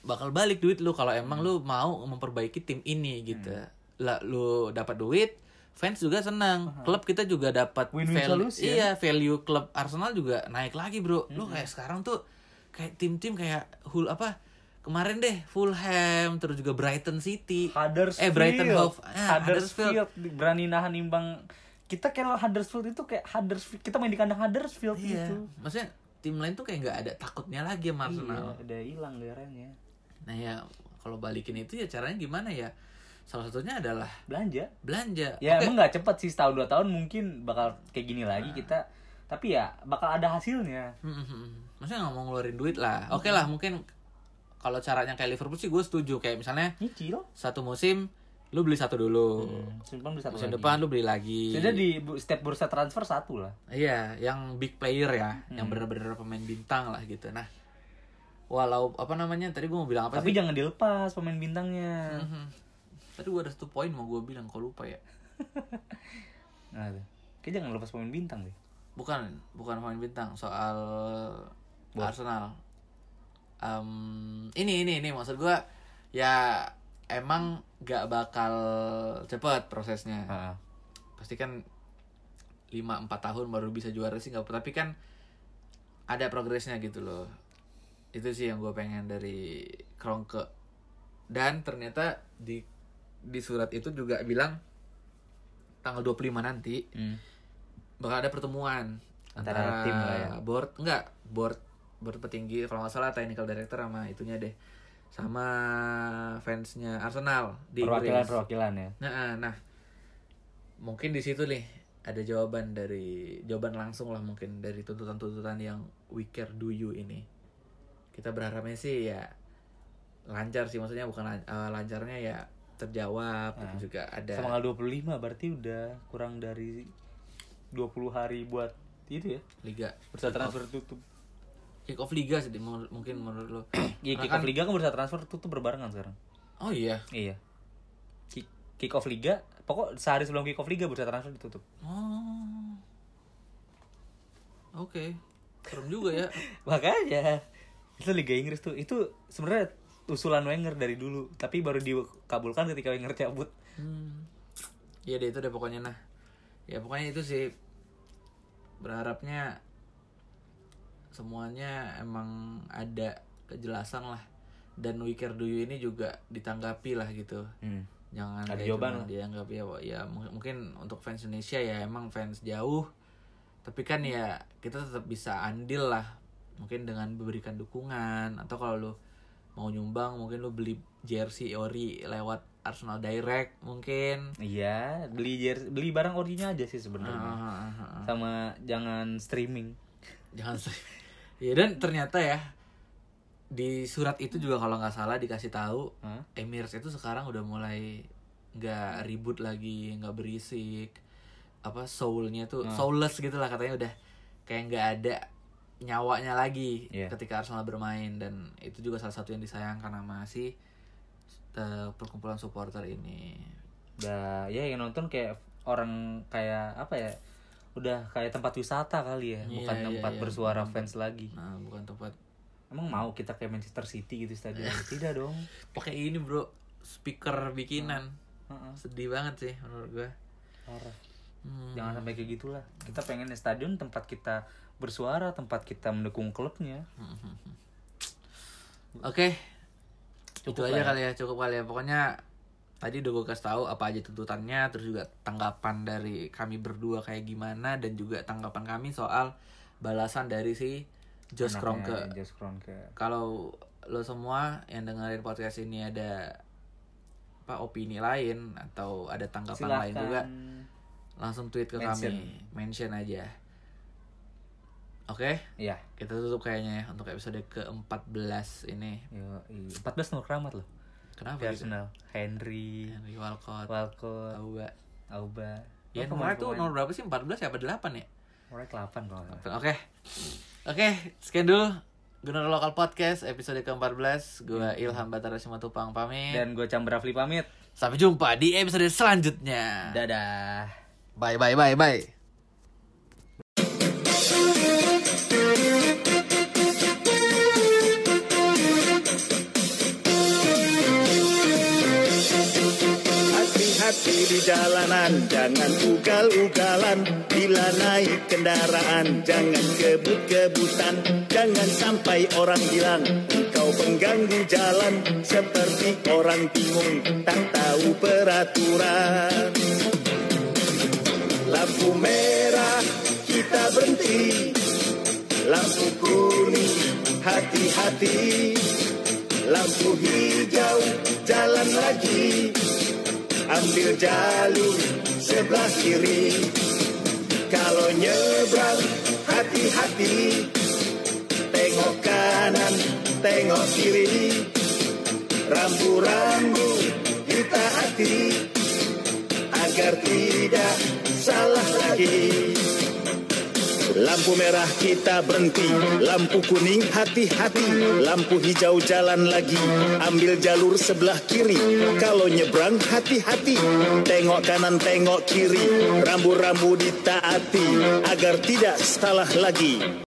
bakal balik duit lu kalau emang lu mau memperbaiki tim ini gitu. Hmm. Lah lu dapat duit, fans juga senang. Klub kita juga dapat Win-win ya. solution. Iya, value klub Arsenal juga naik lagi, Bro. Lu Hmm. kayak sekarang tuh kayak tim-tim kayak Hull apa? Kemarin deh Fulham terus juga Brighton City. Huddersfield. Eh Brighton Hove. Ah, Huddersfield. berani nahan imbang. Kita kayak lawan Huddersfield itu kayak Huddersfield. Kita main di kandang Huddersfield Iya. gitu. Maksudnya tim lain tuh kayak nggak ada takutnya lagi sama Arsenal. Iya, udah hilang gairahnya. Nah ya kalau balikin itu ya caranya gimana ya? Salah satunya adalah Belanja. belanja. *laughs* Ya Oke, emang nggak cepet sih setahun dua tahun mungkin bakal kayak gini lagi kita. Tapi ya bakal ada hasilnya. Hmm, hmm, hmm. Maksudnya nggak mau ngeluarin duit lah. Oke lah mungkin kalau caranya kayak Liverpool sih gue setuju. Kayak misalnya Nyicil. satu musim lu beli satu dulu. Hmm, Simpan bisa Musim depan lu beli lagi. Sudah di bu- setiap bursa transfer satu lah. Iya, yang big player ya, yang Hmm. bener-bener pemain bintang lah gitu. Nah, walau apa namanya tadi gue mau bilang apa Tapi sih? jangan dilepas pemain bintangnya. Hmm. Tadi gue ada satu poin mau gue bilang kok lupa ya. Nah, tuh. Kayaknya jangan lepas pemain bintang deh. Bukan, bukan pemain bintang soal Arsenal. Em, ini ini ini maksud gue ya emang gak bakal cepet prosesnya. Heeh. Pasti kan 5 4 tahun baru bisa juara sih nggak apa- tapi kan ada progresnya gitu loh. Itu sih yang gue pengen dari Kroenke. Dan ternyata di di surat itu juga bilang tanggal 25 nanti Hmm. bakal ada pertemuan Antara tim lah ya. board enggak board board petinggi kalau nggak salah technical director sama itunya deh sama fansnya Arsenal di Inggris. Perwakilan-perwakilan ya. Nah, nah, nah, mungkin di situ nih ada jawaban dari jawaban langsung lah mungkin dari tuntutan-tuntutan yang we care do you ini kita berharapnya sih ya lancar sih maksudnya bukan lan- eh, lancarnya ya terjawab Ah. gitu juga ada Sama tanggal 25 berarti udah kurang dari 20 hari buat itu ya. liga Bursa transfer tutup. kick off liga sih di- mu- mungkin menurut lo Iya, kick off liga kan bursa transfer tutup berbarengan sekarang. oh iya Iya. Kick, kick off liga, pokok sehari sebelum kick off liga bursa transfer ditutup. *laughs* oh oke serem juga ya Makanya itu Liga Inggris tuh itu sebenarnya usulan Wenger dari dulu, tapi baru dikabulkan ketika Wenger cabut. Hmm. Iya deh itu deh pokoknya nah. Ya pokoknya itu sih berharapnya semuanya emang ada kejelasan lah dan We Care Do You ini juga ditanggapi lah gitu. Jangan Ada kayak jawaban cuma lah. dianggap ya Pak. ya mung- mungkin untuk fans Indonesia ya emang fans jauh tapi kan ya kita tetap bisa andil lah mungkin dengan memberikan dukungan atau kalau lu mau nyumbang mungkin lu beli jersey ori lewat Arsenal Direct mungkin Iya, beli jer- beli barang orinya aja sih sebenarnya. Ah, ah, ah. Sama jangan streaming. jangan sih *laughs* ya dan ternyata ya di surat itu juga kalau nggak salah dikasih tahu Hah? Emirates itu sekarang udah mulai nggak ribut lagi nggak berisik apa soulnya tuh Hmm. soulless gitu lah katanya udah kayak nggak ada nyawanya lagi Iya. ketika Arsenal bermain dan itu juga salah satu yang disayangkan sama si eh, perkumpulan supporter ini Udah ya yang nonton kayak orang kayak apa ya? Udah kayak tempat wisata kali ya, bukan iya, tempat iya. bersuara fans lagi. nah bukan tempat Emang mau kita kayak Manchester City gitu *laughs* stadion? Tidak dong. pakai ini bro speaker bikinan Heeh, sedih banget sih menurut gua parah. Hmm. Jangan sampai kayak gitulah. Kita pengen ya stadion tempat kita bersuara, tempat kita mendukung klubnya. Hmm, Oke. Cukup itu lah aja ya. kali ya, cukup kali ya. Pokoknya tadi udah gue kasih tahu apa aja tuntutannya, terus juga tanggapan dari kami berdua kayak gimana dan juga tanggapan kami soal balasan dari si Josh Kronke. Anaknya Josh Kronke. Kalau lo semua yang dengerin podcast ini ada apa opini lain atau ada tanggapan lain juga, Silakan. langsung tweet ke Mention. kami, mention aja. Oke, Iya. kita tutup kayaknya ya untuk episode ke-14 ini. Yoi. 14 nomor keramat loh. Kenapa gitu? Personal. Henry, Henry Walcott, Walcott, Auba. Auba. Ya, Oh, nomornya pemain- tuh pemain. nomor berapa sih? 14 ya apa 8 ya? Nomornya 8 kalau nggak salah. Oke. Oke, sekian dulu Gunung Lokal Podcast episode ke-14. Gua Ilham Batara Simatupang pamit. Dan gue Chandra Rafli pamit. Sampai jumpa di episode selanjutnya. Dadah. Bye bye bye bye. Hati-hati di jalanan, jangan ugal-ugalan. Bila naik kendaraan, jangan kebut-kebutan. Jangan sampai orang bilang, engkau pengganggu jalan. Seperti orang bingung, tak tahu peraturan. Lampu merah, kita berhenti. Lampu kuning, hati-hati. Lampu hijau, jalan lagi ambil jalur sebelah kiri. Kalau nyebrang, hati-hati. Tengok kanan, tengok kiri. Rambu-rambu kita hati agar tidak salah lagi. Lampu merah kita berhenti, lampu kuning hati-hati, lampu hijau jalan lagi, ambil jalur sebelah kiri. Kalau nyebrang hati-hati, tengok kanan tengok kiri, rambu-rambu ditaati agar tidak salah lagi.